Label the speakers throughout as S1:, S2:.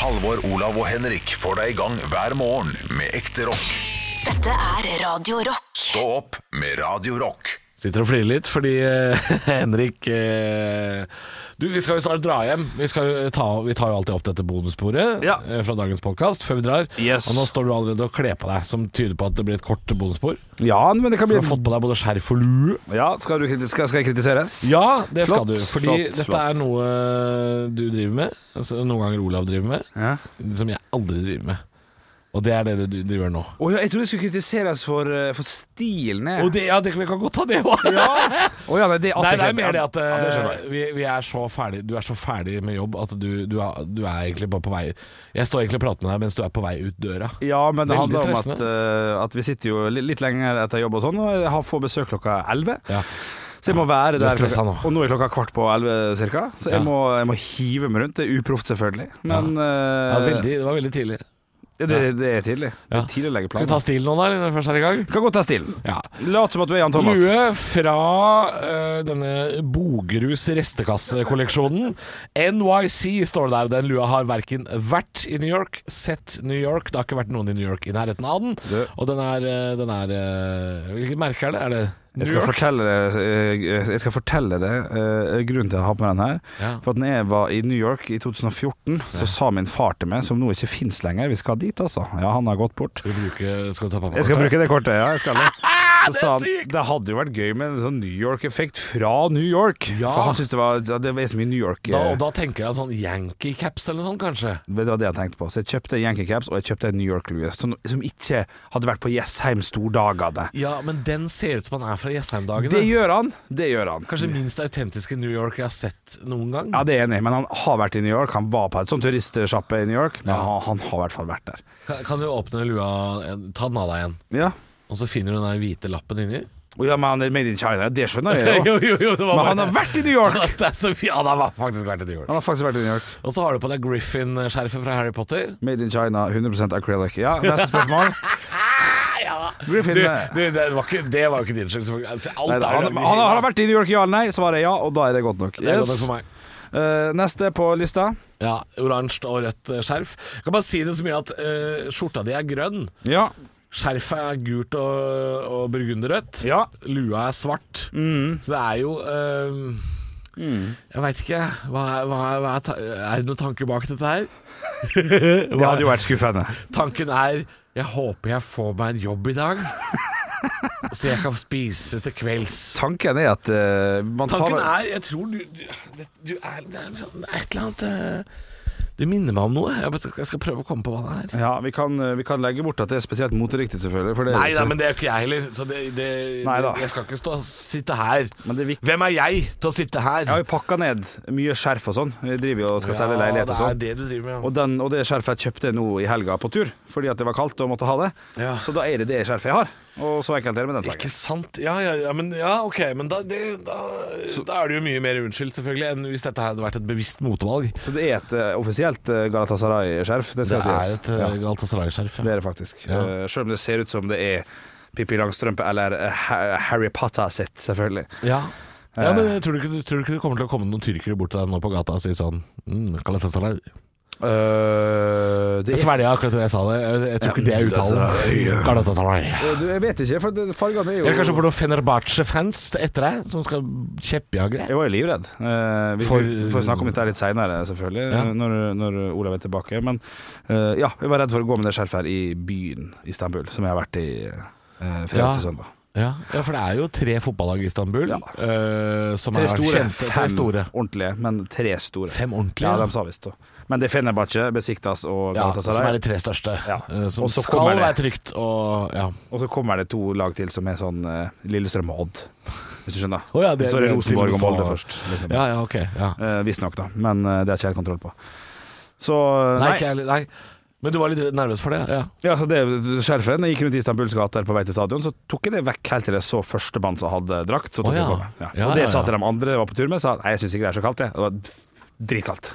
S1: Halvor, Olav og Henrik får deg i gang hver morgen med ekte rock.
S2: Dette er Radio Rock.
S1: Stå opp med Radio Rock.
S3: Sitter og flirer litt fordi eh, Henrik eh, Du, vi skal jo snart dra hjem. Vi, skal jo ta, vi tar jo alltid opp dette bonussporet
S4: Ja.
S3: eh, fra dagens podkast før vi drar.
S4: Yes.
S3: Og nå står du allerede og kler på deg, som tyder på at det blir et kort bonusspor.
S4: Ja, men det
S3: Du
S4: kan bli
S3: har fått på deg både skjerf og lue.
S4: Ja, skal, du, kriti- skal, skal jeg kritiseres?
S3: Ja, det skal
S4: Flott,
S3: du. Fordi
S4: flott,
S3: dette
S4: flott.
S3: er noe eh, du driver med. Altså, noen ganger Olav driver med.
S4: Ja.
S3: Som jeg aldri driver med. Og det er det du du gjør nå.
S4: Å ja, jeg trodde jeg skulle kritiseres for, eh, for stilen. jeg.
S3: Og det, ja, det, vi kan godt ta det òg.
S4: ja. Å ja, nei, det,
S3: Nei, det er mer det at
S4: ja, det skjønner
S3: eh,
S4: jeg.
S3: vi, vi er så ferdig, du er så ferdig med jobb at du, du, er, du er egentlig bare på vei Jeg står egentlig og prater med deg mens du er på vei ut døra.
S4: Ja, men
S3: Veldig
S4: det handler om at,
S3: stressende.
S4: eh, at vi sitter jo li- litt lenger etter jobb og sånn, og jeg har- får besøk klokka elleve.
S3: Ja.
S4: Så jeg må
S3: Du
S4: være
S3: er
S4: der
S3: stressa nå.
S4: klokka- Og nå er klokka kvart på elleve cirka, så jeg,
S3: Ja.
S4: må, jeg må hive meg rundt. Det er uproft, selvfølgelig, men
S3: Ja,
S4: eh,
S3: veldig, det var veldig tidlig.
S4: det, det, det er tidlig. Det
S3: Ja.
S4: er tidlig å legge
S3: Skal vi
S4: planer.
S3: ta stilen nå, da? når vi først er i gang?
S4: Kan godt ta stilen.
S3: Ja.
S4: Lat som at du er Jan Thomas.
S3: Lue fra eh, denne Bogerus restekassekolleksjonen. NYC står det der. Den lua har verken vært i New York, sett New York Det har ikke vært noen i New York i nærheten av den.
S4: Du.
S3: Og den er, eh, den er eh, Hvilket merke er det? Er det
S4: Jeg
S3: New
S4: skal,
S3: York?
S4: fortelle det, eh, jeg skal fortelle det eh, grunnen til at jeg har på meg den her.
S3: Ja.
S4: For at når jeg var i New York i 2014, så sa min far til meg, som nå ikke fins lenger Vi skal dit, altså. Ja, han har gått bort.
S3: Skal, du bruke, skal du ta pappa?
S4: Jeg skal bruke det kortet, ja. Jeg skal det. Så sa han,
S3: sykt!
S4: det hadde jo vært gøy med en sånn New York-effekt fra New York.
S3: Ja.
S4: For han syntes det var ja, Det var så mye New York.
S3: Da,
S4: eh,
S3: og da tenker jeg sånn Yankee caps eller noe sånt, kanskje.
S4: Det var det jeg tenkte på. Så jeg kjøpte en Yankee Caps og jeg kjøpte en New York-lue, som, som ikke hadde vært på Jessheim stordagene.
S3: Ja, men den ser ut som han er fra
S4: Det
S3: Jessheim-dagene.
S4: gjør han. Det gjør han.
S3: Kanskje minst autentiske New York jeg har sett noen gang.
S4: Ja, det er jeg enig, i, men han har vært i New York. Han var på et sånn turistsjappe i New York, men
S3: Ja.
S4: han, han har i hvert fall vært der.
S3: Kan- Kan du åpne lua, eh, ta den av deg igjen,
S4: Ja.
S3: og så finner du den der hvite lappen inni?
S4: Og ja, men han er made in China, det skjønner jeg jo.
S3: jo, jo, det var
S4: Men han har vært i New York!
S3: det er så fint. Han har faktisk vært i New York.
S4: Han har faktisk vært i New York.
S3: Og så har du på deg Griffin-skjerfet fra Harry Potter.
S4: Made in China, 100 acrylic. Ja, neste spørsmål. Griffin eh,
S3: det, var ikke, det var jo ikke din skyld. selvfølgelig. Altså, Alt
S4: nei,
S3: er
S4: da, han,
S3: lagd i
S4: han, han har
S3: Kina.
S4: vært i New York, ja eller nei? Svaret er ja, og da er det godt nok.
S3: Det er godt nok
S4: Yes.
S3: for meg.
S4: Eh, neste på lista.
S3: Ja, Oransje og rødt eh, skjerf. Jeg kan bare si det så mye at eh, skjorta di er grønn.
S4: Ja.
S3: Skjerfet er gult og, og burgunderrødt.
S4: Ja.
S3: Lua er svart. Så det er jo øhm, Jeg veit ikke. Hva, er- hva, er- hva er, ta er det noen tanke bak dette her?
S4: Det hadde jo vært skuffende.
S3: Tanken er Jeg håper jeg får meg en jobb i dag, så jeg kan spise til kvelds.
S4: Tanken er at eh, man tar
S3: Tanken er Jeg tror du, du, det- du er, Det er en sånn- det er et eller annet eh, Du minner meg om noe. Jeg bare- jeg skal prøve å komme på hva det er.
S4: ja, vi kan, eh, vi kan legge bort at det er spesielt moteriktig, selvfølgelig. For det, er
S3: Nei,
S4: jo
S3: nei,
S4: ikke-
S3: men det er jo ikke jeg heller. Så det, det,
S4: Nei da.
S3: det, jeg skal ikke stå og sitte her.
S4: Men det er viktig-
S3: Hvem er jeg til å sitte her?
S4: Jeg har jo pakka ned mye skjerf og sånn. Jeg driver jo og skal selge leilighet og
S3: det er
S4: sånn.
S3: det du driver med.
S4: Og,
S3: ja.
S4: den, og det skjerfet kjøpte jeg nå i helga på tur, fordi at det var kaldt og måtte ha det.
S3: Ja.
S4: Så da er det det skjerfet jeg har. Og så enkelt er det med den
S3: Ikke
S4: saken.
S3: sant? Ja, ja, ja, men, ja ok. Men da, det, da, da er det jo mye mer unnskyldt, selvfølgelig, enn hvis dette hadde vært et bevisst motevalg.
S4: Så det er et eh, offisielt eh, Galatasaray-skjerf. Det
S3: Det
S4: skal
S3: er
S4: sies.
S3: et eh, ja.
S4: ja,
S3: Galtasaray-skjerf.
S4: det
S3: Ja.
S4: er det faktisk.
S3: Ja.
S4: Eh, Selv om det ser ut som det er Pippi Langstrømpe eller eh, Ha- Harry Potter sitt, selvfølgelig.
S3: Ja. ja, men
S4: Eh.
S3: tror du, ikke, tror du ikke det kommer til å komme noen tyrkere bort til deg nå på gata og si sånn mm, Galatasaray?
S4: Eh, det
S3: Jeg
S4: er,
S3: svelga akkurat det jeg sa det. Jeg, jeg tror ikke det er uttalen.
S4: Galatasaray.
S3: Galatasaray.
S4: Eh, du, jeg vet ikke, for det- fargene er jo
S3: Eller kanskje for noen Fenerbahçe-fans etter deg, som skal kjeppjage deg.
S4: Jeg var jo livredd. Eh, vi
S3: For-
S4: får- får snakke om dette her litt seinere, selvfølgelig,
S3: Ja.
S4: når, når Olav er tilbake. Men eh, ja, jeg var redd for å gå med det skjerfet her i byen Istanbul, som jeg har vært i eh,
S3: Ja.
S4: fredag til søndag.
S3: Ja. ja, for det er jo tre fotballag i Istanbul
S4: Ja.
S3: eh, som
S4: Tre
S3: er
S4: store.
S3: kjente. Tre store.
S4: ordentlige, men tre store.
S3: Fem ordentlige.
S4: Ja,
S3: Ja,
S4: de sa visst det. Men det er Fenerbahçe, Besiktas og
S3: som er
S4: Galatasaray.
S3: de tre største.
S4: Ja.
S3: eh, som
S4: Og så
S3: skal
S4: kommer det.
S3: være trygt og ja.
S4: og så kommer det to lag til som er sånn eh, Lillestrøm og Odd, hvis du skjønner.
S3: Å ja, det-
S4: så er det
S3: det-
S4: Rosenborg og
S3: til og med
S4: Molde
S3: så-
S4: først, liksom.
S3: ja, ja, ok. Ja.
S4: Eh, Visstnok, da. Men eh, det har ikke jeg helt kontroll på. Så
S3: Nei, ikke jeg heller. Nei. Men du var litt nervøs for det? Ja.
S4: Ja, så det Skjerfet når jeg gikk rundt Istanbuls gater på vei til stadion, så tok jeg det vekk helt til jeg så førstemann som hadde drakt. Så
S3: Å,
S4: tok jeg
S3: ja.
S4: på meg. Ja.
S3: Ja,
S4: og det
S3: ja,
S4: sa
S3: ja.
S4: til de andre jeg var på tur med, sa at nei, jeg syns ikke det er så kaldt, jeg. Det var d- dritkaldt.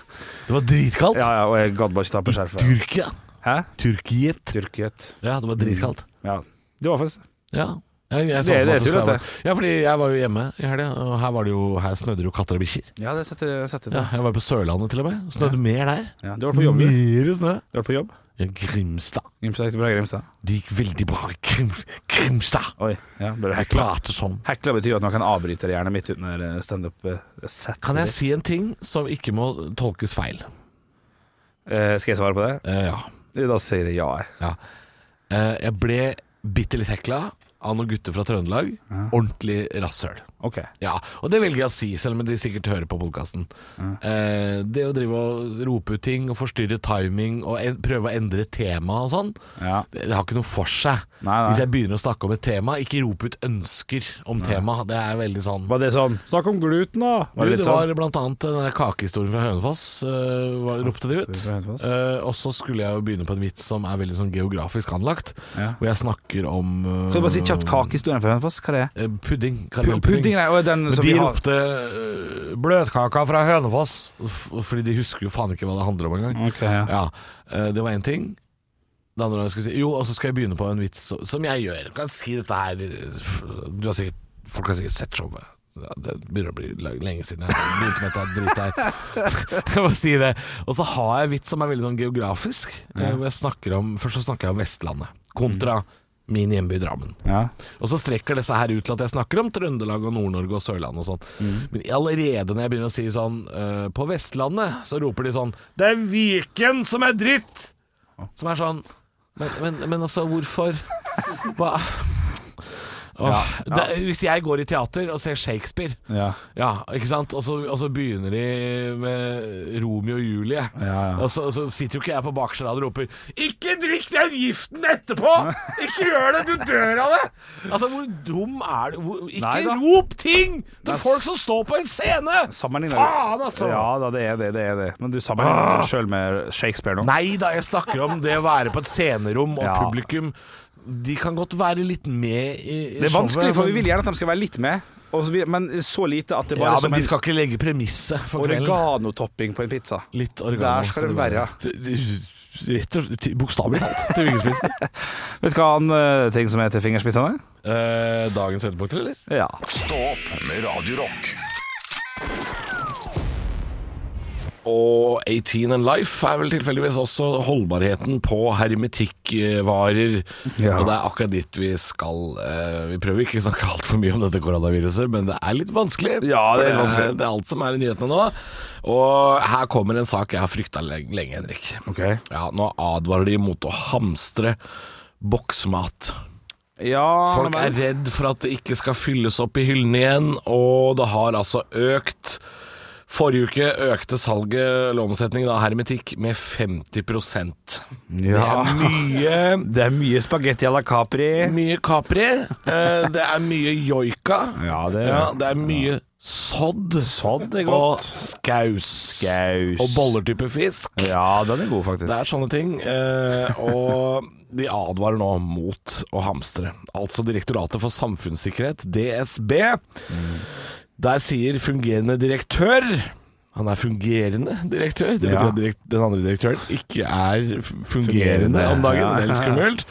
S3: Det var dritkaldt.
S4: Ja, ja, og jeg gadd bare ikke ta på skjerfet.
S3: Tyrkia.
S4: Hæ?
S3: Tyrkiet.
S4: Tyrkiet.
S3: Ja, det var dritkaldt.
S4: Ja. Det var faktisk
S3: Ja. Jeg, jeg så
S4: Det-
S3: for meg
S4: det
S3: at
S4: tror jeg
S3: skulle
S4: at
S3: være- Ja, fordi jeg var jo hjemme i helga, og her, var det jo, her snødde det jo katter og bikkjer.
S4: Ja, det setter jeg setter
S3: Ja,
S4: det.
S3: jeg var på Sørlandet til og med. Snødde mer der.
S4: Ja, du har vært på jobb, du.
S3: Mer snø.
S4: Du har vært på jobb?
S3: Ja, Grimstad.
S4: Grimstad, bra Grimstad.
S3: Det gikk veldig bra. i Grim, Grimstad.
S4: Oi, ja, bare
S3: Jeg
S4: hekla.
S3: klarte sånn.
S4: Hekla betyr jo at man kan avbryte det gjerne midt under eh, standup. eh, set.
S3: Kan jeg si en ting som ikke må tolkes feil?
S4: Eh, skal jeg svare på det?
S3: Eh, ja.
S4: Da sier jeg ja, jeg.
S3: ja. Eh, jeg ble bitte litt hekla av noen gutter fra Trøndelag. Ordentlig rasshøl.
S4: Ok.
S3: Ja, og det velger jeg å si, selv om de sikkert hører på podkasten. Eh, det å drive og rope ut ting og forstyrre timing og en, prøve å endre tema og sånn,
S4: Ja.
S3: det, det har ikke noe for seg.
S4: Nei, nei.
S3: Hvis jeg begynner å snakke om et tema, ikke rop ut ønsker om tema. Det er veldig sånn
S4: Var det sånn Snakk om gluten, da!
S3: du,
S4: Var det
S3: det
S4: litt sånn?
S3: var blant annet den der kakehistorien fra Hønefoss, eh, var, ropte de ut.
S4: Kakehistorien fra Hønefoss.
S3: Eh, og så skulle jeg jo begynne på en vits som er veldig sånn geografisk anlagt,
S4: Ja.
S3: hvor jeg snakker om eh,
S4: Kan du bare si kjapt kakehistorien fra Hønefoss? Hva er det?
S3: eh, Pudding.
S4: Pu-
S3: karamellpudding.
S4: Pudding, nei. Og den
S3: Men
S4: som
S3: de
S4: vi har
S3: ropte øh, 'bløtkaka fra Hønefoss', f- fordi de husker jo faen ikke hva det handler om engang.
S4: Ok, ja.
S3: Ja, øh, det var én ting. Det andre jeg skulle si Jo, og så skal jeg begynne på en vits så- som jeg gjør. Jeg kan si dette her f- du har sikkert, Folk har sikkert sett showet. Ja, det begynner å bli la- lenge siden jeg begynte med dette dritt her. Jeg må si det. Og så har jeg vits som er veldig sånn geografisk. øh, Hvor jeg snakker om, først så snakker jeg om Vestlandet kontra min hjemby Drammen.
S4: Ja.
S3: Og så strekker disse her ut til at jeg snakker om Trøndelag og Nord-Norge og Sørlandet og sånn. Men allerede når jeg begynner å si sånn øh, På Vestlandet så roper de sånn Det er Viken som er dritt! Som er sånn Men, men, men altså, hvorfor? Hva? Åh, Det, hvis jeg går i teater og ser Shakespeare
S4: ja.
S3: ja, ikke sant? Og så, og så begynner de med Romeo og Julie.
S4: ja.
S3: Og, så, og så sitter jo ikke jeg på bakerste rad og roper 'Ikke drikk den giften etterpå! Ikke gjør det, du dør av det!' Altså, hvor dum er du? Hvor, ikke
S4: Nei da.
S3: rop ting
S4: er
S3: til
S4: s-
S3: folk som står på en scene!
S4: Sammenligner
S3: Faen, altså! Ah!
S4: Ja da, det er det. det er det Men du sammenligner deg sjøl med Shakespeare nå?
S3: Nei da, jeg snakker om det å være på et scenerom og
S4: Ja.
S3: publikum. De kan godt være litt med i, i
S4: Det er
S3: showet,
S4: vanskelig,
S3: sånn
S4: for vi
S3: men-
S4: vil gjerne at de skal være litt med, og så vi- men så lite at det bare
S3: Ja,
S4: er som
S3: men de
S4: en
S3: skal ikke legge premisset for kvelden.
S4: oreganotopping på en pizza.
S3: Litt oregano.
S4: Der skal det være.
S3: Det- det- Rett og slett bokstavelig talt til vingespissen.
S4: Vet du hva annen eh, ting som heter fingerspissene?
S3: Eh, dagens høydepunkter, eller?
S4: Ja.
S1: Stå opp med Radio Rock.
S3: Og 18 and Life er vel tilfeldigvis også holdbarheten på hermetikkvarer.
S4: Ja.
S3: Og det er akkurat dit vi skal. eh, Vi prøver ikke å snakke altfor mye om dette koronaviruset, men det er litt vanskelig.
S4: Ja,
S3: for det,
S4: det er
S3: er,
S4: vanskelig.
S3: det er alt som er i nyhetene nå. Og her kommer en sak jeg har frykta lenge, Henrik.
S4: Ok.
S3: Ja, nå advarer de mot å hamstre boksmat.
S4: ja
S3: Folk er redd for at det ikke skal fylles opp i hyllene igjen, og det har altså økt. Forrige uke økte salget, eller omsetningen av hermetikk, med 50 Det
S4: Ja.
S3: er mye,
S4: Det er mye spagetti à la Capri.
S3: mye Capri, eh, det er mye joika,
S4: Ja, det er-
S3: ja, det er mye sodd
S4: Sånn, det er
S3: og
S4: godt.
S3: skaus.
S4: Gaus.
S3: Og bollertype fisk.
S4: Ja, den er god, faktisk.
S3: Det er sånne ting. Eh, og de advarer nå mot å hamstre. Altså Direktoratet for samfunnssikkerhet, DSB. Der sier fungerende direktør han er fungerende direktør. Det betyr
S4: Ja.
S3: at direkt, den andre direktøren ikke er f- fungerende
S4: Fungerende,
S3: om dagen.
S4: ja.
S3: Vel skummelt.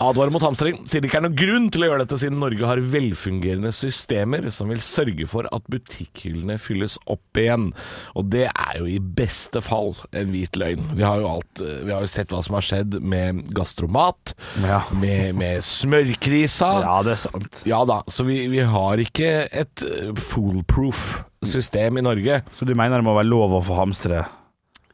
S3: Advarer mot hamstring. Sier det ikke er noen grunn til å gjøre dette, siden Norge har velfungerende systemer som vil sørge for at butikkhyllene fylles opp igjen. Og det er jo i beste fall en hvit løgn. Vi har jo, alt, eh, vi har jo sett hva som har skjedd med Gastromat,
S4: Ja.
S3: med, med smørkrisa.
S4: Ja, det er sant.
S3: Ja da, så vi, vi har ikke et eh, foolproof system i Norge.
S4: Så du mener det må være lov å få hamstre?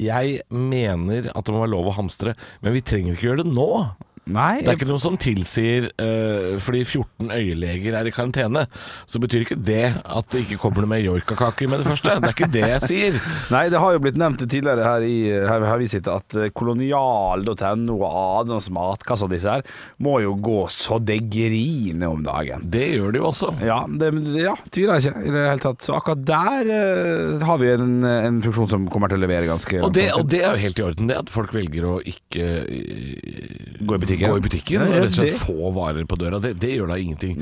S3: Jeg mener at det må være lov å hamstre, men vi trenger ikke gjøre det nå.
S4: Nei,
S3: Det er ikke noe som tilsier eh, Fordi 14 øyeleger er i karantene, så betyr ikke det at det ikke kommer noe med joikakaker med det første. Det er ikke det jeg sier.
S4: Nei, det har jo blitt nevnt tidligere her, i, her, her vi sitter, at eh, kolonial.no og Adams matkasse og disse her må jo gå så det griner om dagen.
S3: Det gjør de jo også.
S4: Ja, det ja, tviler jeg ikke i det hele tatt. Så akkurat der eh, har vi en, en funksjon som kommer til å levere ganske
S3: Og det, og det er jo helt i orden, det, at folk velger å ikke eh,
S4: Gå i butikken.
S3: Gå i butikken
S4: Nei,
S3: og rett og slett
S4: det-
S3: få varer på døra. Det, det gjør da ingenting.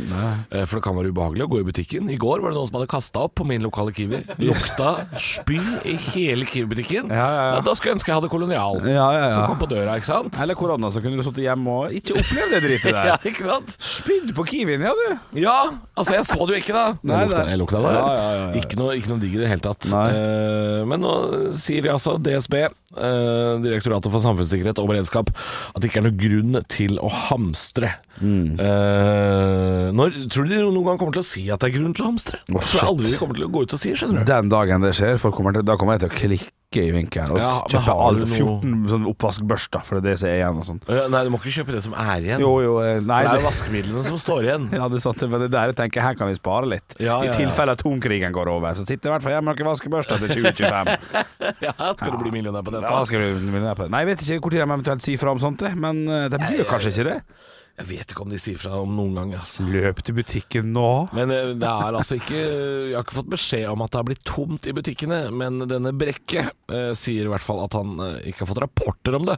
S3: Eh, For det kan være ubehagelig å gå i butikken. I går var det noen som hadde kasta opp på min lokale Kiwi. Lukta spy i hele Kiwi-butikken.
S4: Ja, ja, ja.
S3: Da skulle jeg ønske jeg hadde Kolonial
S4: Ja, ja, ja.
S3: som kom på døra, ikke sant?
S4: Eller korona, så kunne du sittet hjemme og ikke opplevd det dritet der.
S3: Ja, ikke sant?
S4: Spydd på kiwien, ja du.
S3: Ja, altså jeg så det jo ikke da
S4: Nei,
S3: Jeg lukta,
S4: nei.
S3: jeg lukta det
S4: Ja, ja, ja, ja.
S3: Ikke, noe, ikke noe digg i det hele tatt
S4: Nei.
S3: Eh, Men nå sier de altså DSB eh, Direktoratet for samfunnssikkerhet og beredskap At det ikke er noe grunn til å hamstre
S4: Mm.
S3: Eh, når, Tror du de noen gang kommer til å si at det er grunn til å hamstre?
S4: Å,
S3: tror jeg aldri de kommer til å gå ut og si, skjønner du
S4: Den dagen det skjer, folk kommer til, da kommer jeg til å klikke i vinkelen og
S3: Ja, men
S4: kjøpe
S3: har du
S4: alt,
S3: noe-
S4: 14 sånn oppvaskbørster, for det er det som er igjen og sånn.
S3: Eh, Nei, du må ikke kjøpe det som er igjen
S4: Jo, jo, eh, nei,
S3: For det er jo
S4: det,
S3: vaskemidlene som står igjen
S4: ja, det er sant, men det der jeg tenker her kan vi spare litt.
S3: Ja, ja, ja.
S4: I tilfelle atomkrigen går over, så sitter i hvert fall hjemme med noen vaskebørster til 2025.
S3: Ja, skal du bli millionær på dette
S4: Da skal du millionær på det. Nei, jeg vet ikke hvor tid de eventuelt sier fra om sånt, det, men eh, de gjør kanskje ikke det.
S3: Jeg vet ikke om de sier fra om noen gang altså.
S4: Løp til butikken nå.
S3: Men eh, det er altså ikke Jeg har ikke fått beskjed om at det har blitt tomt i butikkene, men denne Brekke eh, sier i hvert fall at han eh, ikke har fått rapporter om det.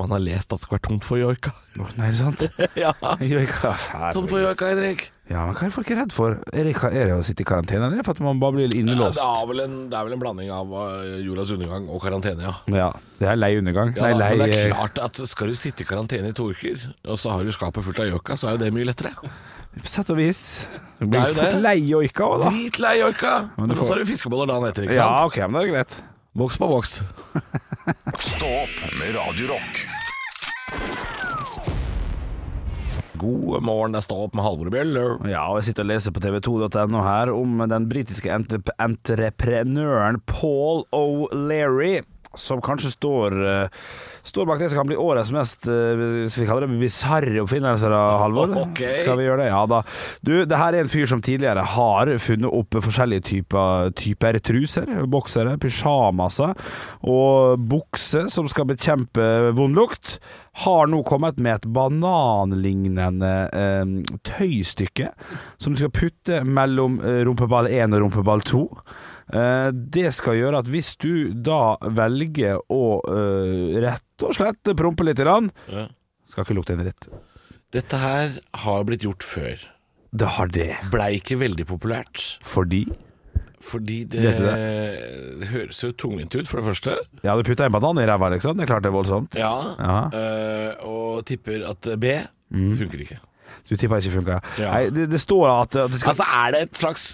S3: Man har lest at det skal være tomt for joika.
S4: Å, Nei, er det sant?
S3: ja,
S4: Joika.
S3: tomt for joika, Henrik.
S4: Ja, men hva er folk redd for? Er det, er det å sitte i karantene, eller er det for at man bare blir
S3: Ja,
S4: innelåst?
S3: det, er vel en, det er vel en blanding av eh, jordas undergang og karantene, ja.
S4: Ja, det er lei undergang.
S3: Ja,
S4: Nei,
S3: da,
S4: lei
S3: men det er
S4: eh,
S3: klart at Skal du sitte i karantene i to uker, og så har du skapet fullt av joika, så er jo det mye lettere.
S4: på sett og vis. Du
S3: Det
S4: blir
S3: er jo
S4: fort
S3: det.
S4: lei joika òg, da.
S3: Dritlei joika!
S4: men
S3: Men
S4: du
S3: så
S4: får-
S3: har du fiskeboller dagen etter, ikke
S4: Ja,
S3: sant?
S4: OK, men det er greit.
S3: Voks på voks.
S1: Stå opp med Radio Rock.
S3: God morgen, det er Stå opp med Halvor og Bjøller.
S4: Ja, og jeg sitter og leser på tv2.no her om den britiske entrep entreprenøren Paul O'Leary. Som kanskje står, eh, står bak det som kan bli årets mest eh, Skal vi kalle det bisarre oppfinnelser, da, Halvor?
S3: Ok.
S4: Skal vi gjøre det? Ja da. Du, det her er en fyr som tidligere har funnet opp forskjellige typer, typer truser. Boksere, pysjamaser og bukser som skal bekjempe vond lukt. Har nå kommet med et bananlignende eh, tøystykke som du skal putte mellom eh, rumpeball 1 og rumpeball 2. Eh, det skal gjøre at hvis du da velger å eh, rett og slett prompe litt, grann,
S3: Ja.
S4: skal ikke lukte en dritt.
S3: Dette her har blitt gjort før.
S4: Det har det.
S3: Blei ikke veldig populært,
S4: Fordi
S3: fordi det,
S4: Vet du
S3: høres jo tungvint ut, for det første.
S4: Ja, du putta en banan i ræva, liksom. Det er klart det er voldsomt.
S3: Ja.
S4: Ja. Mm.
S3: Eh, og tipper at B funker ikke.
S4: Du tippa ikke funka.
S3: Ja.
S4: Nei, det, det står at, at det skal
S3: Altså, er det et slags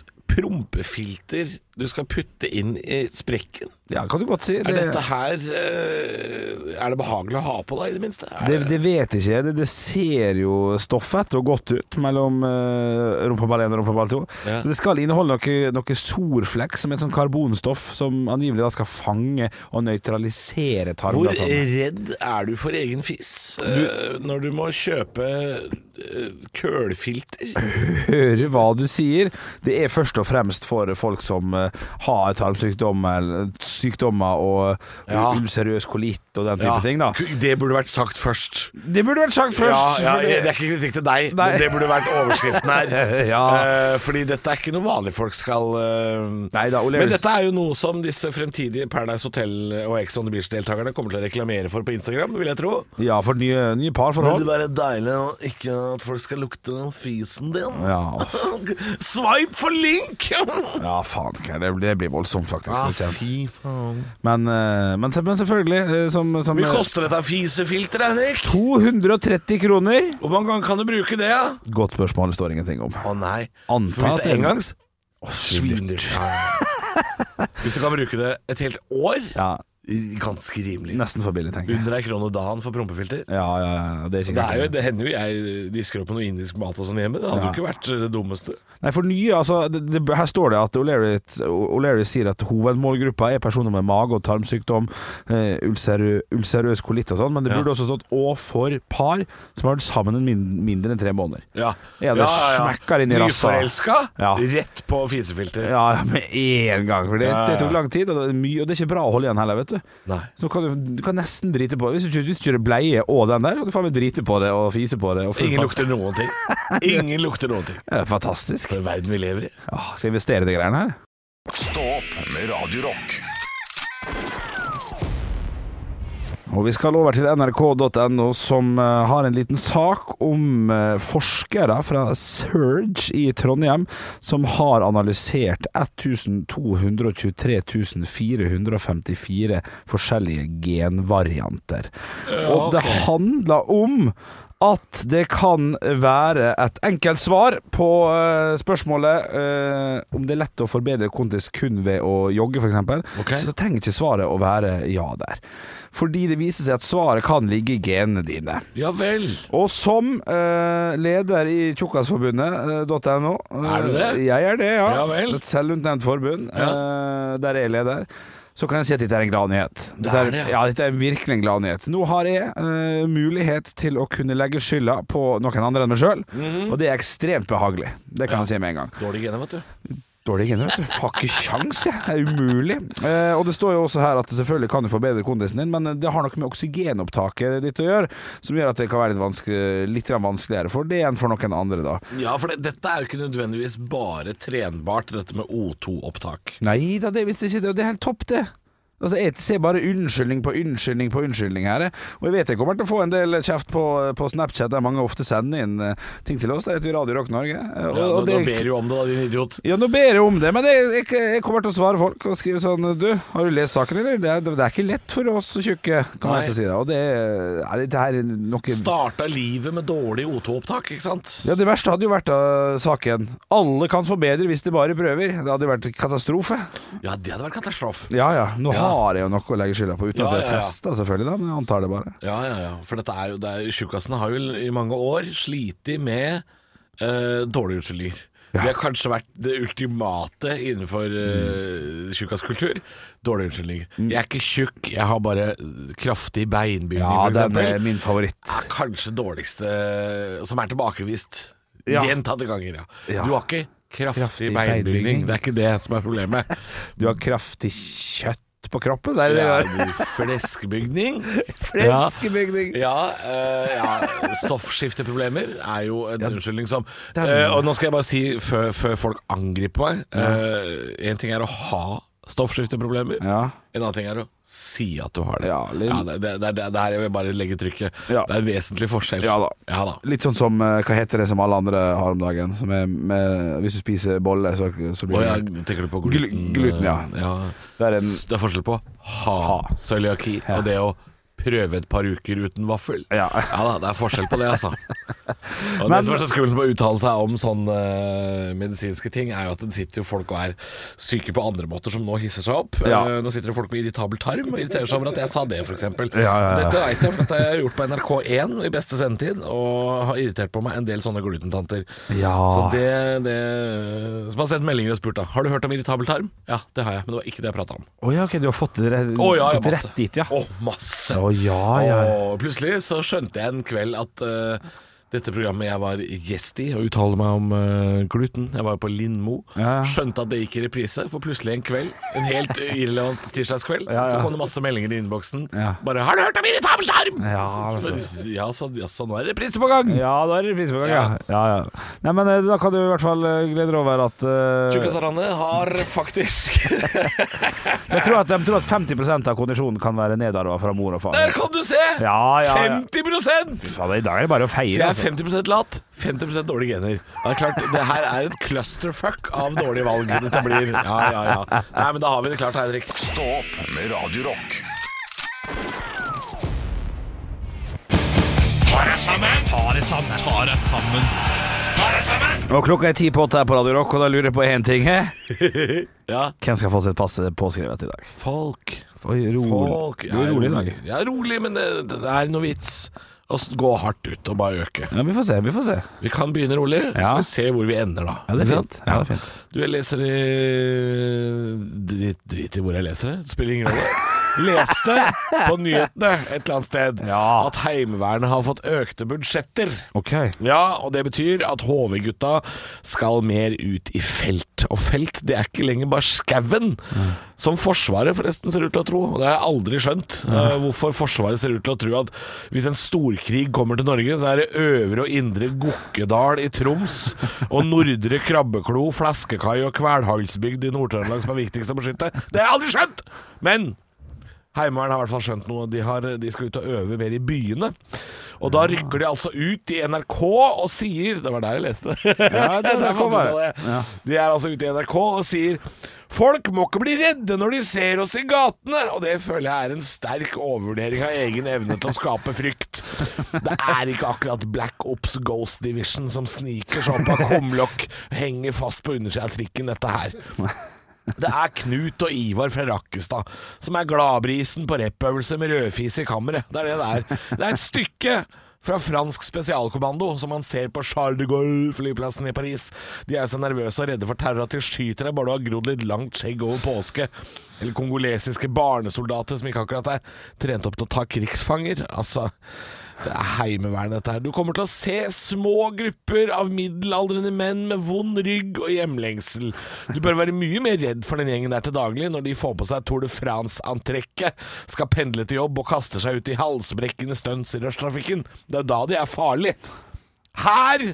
S3: prompefilter du skal putte inn i sprekken?
S4: Ja, kan du godt si.
S3: Er dette her eh, Er det behagelig å ha på deg, i det minste? Er
S4: det, det vet ikke jeg. Det, det ser jo stoffet og godt ut mellom eh, rumpeball 1 og rumpeball 2.
S3: Ja.
S4: Men Det skal inneholde noe, noe sorflekk, som er et sånt karbonstoff som angivelig da skal fange og nøytralisere
S3: hvor
S4: tarmglassene.
S3: redd er du for egen fis eh, når du må kjøpe eh, kølfilter?
S4: Hører hva du sier. Det er først og fremst for folk som eh, har tarmsykdommer eller sykdommer og
S3: Ja.
S4: ulcerøs kolitt og den type ting. da
S3: Det burde vært sagt først.
S4: Det burde vært sagt
S3: Ja,
S4: først. for
S3: ja,
S4: det-
S3: det er ikke kritikk til deg,
S4: Nei.
S3: men det burde vært overskriften her.
S4: Ja.
S3: Eh, fordi dette er ikke noe vanlige folk skal eh,
S4: Neida, Ole
S3: Men
S4: Elvis-
S3: dette er jo noe som disse fremtidige Paradise Hotel og Ex on the Beach-deltakerne kommer til å reklamere for på Instagram, vil jeg tro.
S4: ja, for nye, nye parforhold.
S3: være deilig ikke at folk skal lukte fysen din?
S4: Ja, f-
S3: Swipe for link!
S4: ja faen. ikke, Det, det blir voldsomt, faktisk.
S3: Ah,
S4: det kjenner jeg.
S3: fy faen.
S4: men, eh, men, se- men selvfølgelig eh, som, som
S3: Hvor mye koster dette fisefilteret, Henrik?
S4: 230 kroner.
S3: Hvor mange ganger kan du bruke det? ja?
S4: Godt spørsmål, det står ingenting om.
S3: Å nei.
S4: Anta
S3: For hvis
S4: at
S3: det er
S4: en-
S3: engangs
S4: Svindyrt.
S3: Ja. Hvis du kan bruke det et helt år,
S4: Ja,
S3: ganske rimelig.
S4: nesten for billig, tenker jeg.
S3: Under ei krone dagen for prompefilter.
S4: Ja, ja, ja, det er ikke
S3: Det, er jo, det hender jo jeg disker opp med noe indisk mat og sånn hjemme. Det hadde jo ikke vært det dummeste.
S4: Nei, for nye, altså det, det, Her står det at O'Leary O'Leary sier at hovedmålgruppa er personer med mage- og tarmsykdom, eh, ulcerø, ulcerøs kolitt og sånn, men det
S3: Ja.
S4: burde også stått 'og for par som har vært sammen en min, mindre enn tre måneder'.
S3: Ja,
S4: Ja, det smekker inn i rassa.
S3: Nyforelska,
S4: Ja.
S3: rett på fisefilter.
S4: Ja, ja, med en gang. For det,
S3: Ja, ja, ja.
S4: det tok lang tid, og det, er mye, og det er ikke bra å holde igjen heller, vet du.
S3: Nei.
S4: Så nå kan du, du kan nesten drite på det. Hvis du, ikke- hvis du kjører bleie og den der, kan du faen meg drite på det og fise på det. Og full
S3: Ingen
S4: pakke.
S3: lukter noen ting. Ingen lukter noen ting.
S4: Ja, fantastisk.
S3: For verden vi lever i.
S4: Ja, skal jeg investere i de greiene her?
S1: Stå opp med Radio Rock.
S4: Å, Og vi skal over til nrk.no, som eh, har en liten sak om eh, forskere fra Surge i Trondheim, som har analysert 1223 454 forskjellige genvarianter. Og det handler om at det kan være et enkelt svar på eh, spørsmålet eh, om det er lett å forbedre kondis kun ved å jogge, f.eks.
S3: Ok.
S4: Så trenger ikke svaret å være ja der. Fordi det viser seg at svaret kan ligge i genene dine.
S3: Ja vel.
S4: Og som eh, leder i Tjukkasforbundet.no
S3: Er du det?
S4: Eh, Jeg er det, ja.
S3: Ja vel.
S4: Et selvutnevnt forbund eh, der jeg er leder. Så kan jeg si at dette er en gladnyhet. Dette
S3: Det er det, ja.
S4: ja, dette er virkelig en gladnyhet. Nå har jeg eh, mulighet til å kunne legge skylda på noen andre enn meg sjøl,
S3: Mhm.
S4: og det er ekstremt behagelig. Det kan jeg si med en gang.
S3: Dårlig gene, vet du.
S4: Dårlige gener, vet du. Har ikke kjangs, jeg. Det er umulig. Eh, og det står jo også her at selvfølgelig kan du forbedre kondisen din, men det har noe med oksygenopptaket ditt å gjøre, som gjør at det kan være litt, vanskelig, litt grann vanskeligere for det enn for noen andre, da.
S3: Ja, for det, dette er jo ikke nødvendigvis bare trenbart, dette med O2-opptak.
S4: Nei da, det visste jeg ikke. Det er helt topp, det. Altså, Jeg ser bare unnskyldning på unnskyldning på unnskyldning her. jeg. Og jeg vet jeg kommer til å få en del kjeft på, på Snapchat, der mange ofte sender inn eh, ting til oss. Det heter jo Radio Rock Norge. eh, Og,
S3: Ja, nå, nå
S4: og det-
S3: ber du om det, da, din idiot.
S4: Ja, nå ber jeg om det, men jeg, jeg, jeg kommer til å svare folk og skrive sånn Du, har du lest saken, eller? Det er, det er ikke lett for oss tjukke, kan
S3: Nei.
S4: jeg ikke si det. Og det, nei, det her er noe
S3: Starta livet med dårlig O2-opptak, ikke sant?
S4: ja, Det verste hadde jo vært uh, saken. Alle kan forbedre hvis de bare prøver. Det hadde jo vært katastrofe.
S3: Ja, det hadde vært katastrofe.
S4: Ja ja, nå har jeg jo noe å legge skylda på, uten
S3: Ja,
S4: at jeg
S3: ja, ja.
S4: testa selvfølgelig, da, men jeg antar det bare.
S3: Ja, ja, ja. For dette er jo, det er, tjukkassene har jo i mange år slitt med eh, dårlige unnskyldninger. Det har kanskje vært det ultimate innenfor
S4: Mm.
S3: uh, tjukkaskultur. Dårlige unnskyldninger. Jeg er ikke tjukk, jeg har bare eh, kraftig beinbygning,
S4: Ja,
S3: for
S4: den
S3: eksempel.
S4: er min favoritt.
S3: er kanskje dårligste eh, som er tilbakevist
S4: Ja.
S3: gjentatte ganger. Ja.
S4: Ja.
S3: Du har ikke kraftig,
S4: Kraftig
S3: beinbygning.
S4: beinbygning.
S3: Det er ikke det som er problemet.
S4: Du har kraftig kjøtt på kroppen. Det er
S3: Det
S4: det
S3: er
S4: der.
S3: jo fleskebygning.
S4: Fleskebygning.
S3: Ja, eh, ja, stoffskifteproblemer er jo en unnskyldning som
S4: Den-
S3: Eh, Og nå skal jeg bare si, før, før folk angriper meg eh, En ting er å ha stoffskifteproblemer.
S4: Ja.
S3: En annen ting er å si at du har det.
S4: Ja, litt-
S3: det, det, det, det, det her vil jeg bare legge trykket.
S4: Ja.
S3: Det er en vesentlig forskjell.
S4: Ja da.
S3: Ja, da.
S4: Litt sånn som eh, Hva heter det som alle andre har om dagen? Som er med, hvis du spiser bolle, så, så
S3: Å
S4: blir det
S3: ja, tenker du på
S4: Glu-
S3: gluten?
S4: gluten, ja.
S3: eh, ja.
S4: Det er en
S3: S- Det er forskjell på ha, cøliaki og det å prøve et par uker uten vaffel.
S4: Ja.
S3: da, det er forskjell på det, altså. Og
S4: Men-
S3: det som er så skummelt med å uttale seg om sånne eh, medisinske ting, er jo at det sitter jo folk og er syke på andre måter, som nå hisser seg opp.
S4: Ja.
S3: Eh, nå sitter det folk med irritabel tarm og irriterer seg over at jeg sa det, f.eks.
S4: ja, ja.
S3: Dette veit jeg, for dette har jeg gjort på NRK1 i beste sendetid, og har irritert på meg en del sånne glutentanter.
S4: Ja.
S3: Så det, det Som har sendt meldinger og spurt da Har du hørt om irritabel tarm? Ja, det har jeg, men det var ikke det jeg prata om.
S4: Å ja, ok, du har fått det rett,
S3: Å ja, ja,
S4: gått
S3: masse.
S4: rett dit, ja.
S3: Å, masse.
S4: Å, ja, ja.
S3: Og plutselig så skjønte jeg en kveld at eh, dette programmet jeg var gjest i, og uttaler meg om eh, gluten Jeg var jo på Lindmo.
S4: Ja.
S3: Skjønte at det gikk i reprise, for plutselig en kveld, en helt irrelevant tirsdagskveld,
S4: Ja, ja.
S3: så kom det masse meldinger i innboksen.
S4: Ja.
S3: Bare 'Har du hørt om irritabel tarm?'
S4: Ja,
S3: Så
S4: vet
S3: bare, ja, så, ja, så nå er det reprise på gang!
S4: Ja, da er det pris på gang, ja. ja, ja. Nei, men eh, da kan du i hvert fall eh, glede deg over at eh,
S3: Tjukkas Arane har faktisk
S4: Jeg tror at de tror at 50 av kondisjonen kan være nedarva fra mor og far.
S3: Der kan du se!
S4: Ja, ja, ja.
S3: 50
S4: Faen, I dag er det bare å
S3: Så jeg
S4: feire. altså.
S3: er 50 lat, 50 dårlige gener. Det er klart, det her er et clusterfuck av dårlige valg. Dette blir Ja, ja, ja. Nei, men da har vi det klart, Heidrik.
S1: Stå opp med Radio Rock.
S4: Og klokka er ti på åtte her på Radio Rock, og da lurer jeg på én ting. eh.
S3: Ja.
S4: Hvem skal få sitt pass påskrevet i dag?
S3: Folk.
S4: Oi,
S3: Folk.
S4: Du er rolig i dag.
S3: Ja, rolig, men det, det er noe vits. Å s- gå hardt ut og bare øke.
S4: Ja, vi får se, vi får se.
S3: Vi kan begynne rolig, så
S4: Ja.
S3: skal vi se hvor vi ender, da.
S4: Ja, det er
S3: Ikke
S4: fint.
S3: sant?
S4: Ja, det er fint.
S3: Du, jeg leser i drit, drit i hvor jeg leser det. Det spiller ingen rolle. Leste på nyhetene et eller annet sted
S4: Ja.
S3: at Heimevernet har fått økte budsjetter.
S4: Ok.
S3: Ja, og det betyr at HV-gutta skal mer ut i felt. Og felt, det er ikke lenger bare skauen, som Forsvaret forresten ser ut til å tro. Og det har jeg aldri skjønt, eh, hvorfor Forsvaret ser ut til å tro at hvis en storkrig kommer til Norge, så er det øvre og indre Gokkedal i Troms og nordre Krabbeklo, Flaskekai og Kvelhalsbygd i Nord-Trøndelag som er viktigst å beskytte. Det har jeg aldri skjønt! Men Heimevernet har i hvert fall skjønt noe. De, har, de skal ut og øve mer i byene. Og da rykker de altså ut i NRK og sier Det var der jeg leste det.
S4: Ja, det- det
S3: Der fant jeg
S4: kan
S3: ut av
S4: være.
S3: det.
S4: Ja.
S3: De er altså ute i NRK og sier Folk må ikke bli redde når de ser oss i gatene! Og det føler jeg er en sterk overvurdering av egen evne til å skape frykt. Det er ikke akkurat Black Ops Ghost Division som sniker seg opp av kumlokk, henger fast på undersida av trikken, dette her. Det er Knut og Ivar fra Rakkestad som er gladbrisen på rappøvelse med rødfis i kammeret. Det er det det er. Det er et stykke fra fransk spesialkommando som man ser på Charles de Gaulle-flyplassen i Paris. De er jo så nervøse og redde for terror at de skyter deg bare du har grodd litt langt skjegg over påske. Eller kongolesiske barnesoldater som ikke akkurat er trent opp til å ta krigsfanger. Altså det er heimevernet dette her. Du kommer til å se små grupper av middelaldrende menn med vond rygg og hjemlengsel. Du bør være mye mer redd for den gjengen der til daglig når de får på seg Tour de France-antrekket, skal pendle til jobb og kaster seg ut i halsbrekkende stunts i rushtrafikken. Det er da de er farlige. Her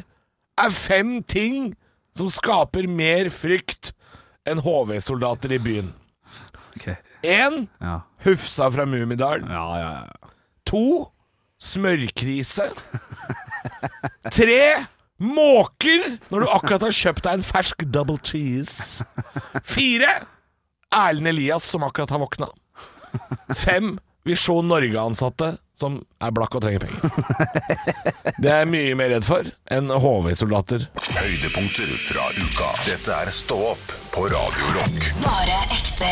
S3: er fem ting som skaper mer frykt enn HV-soldater i byen.
S4: Ok.
S3: Én
S4: Ja.
S3: Hufsa fra Mummidalen.
S4: Ja, ja, ja.
S3: To smørkrise. Tre måker når du akkurat har kjøpt deg en fersk double cheese. Fire Erlend Elias som akkurat har våkna. Fem Visjon Norge-ansatte som er blakk og trenger penger. Det er jeg mye mer redd for enn HV-soldater.
S1: Høydepunkter fra uka. Dette er Stå opp på Radio Rock.
S2: Bare ekte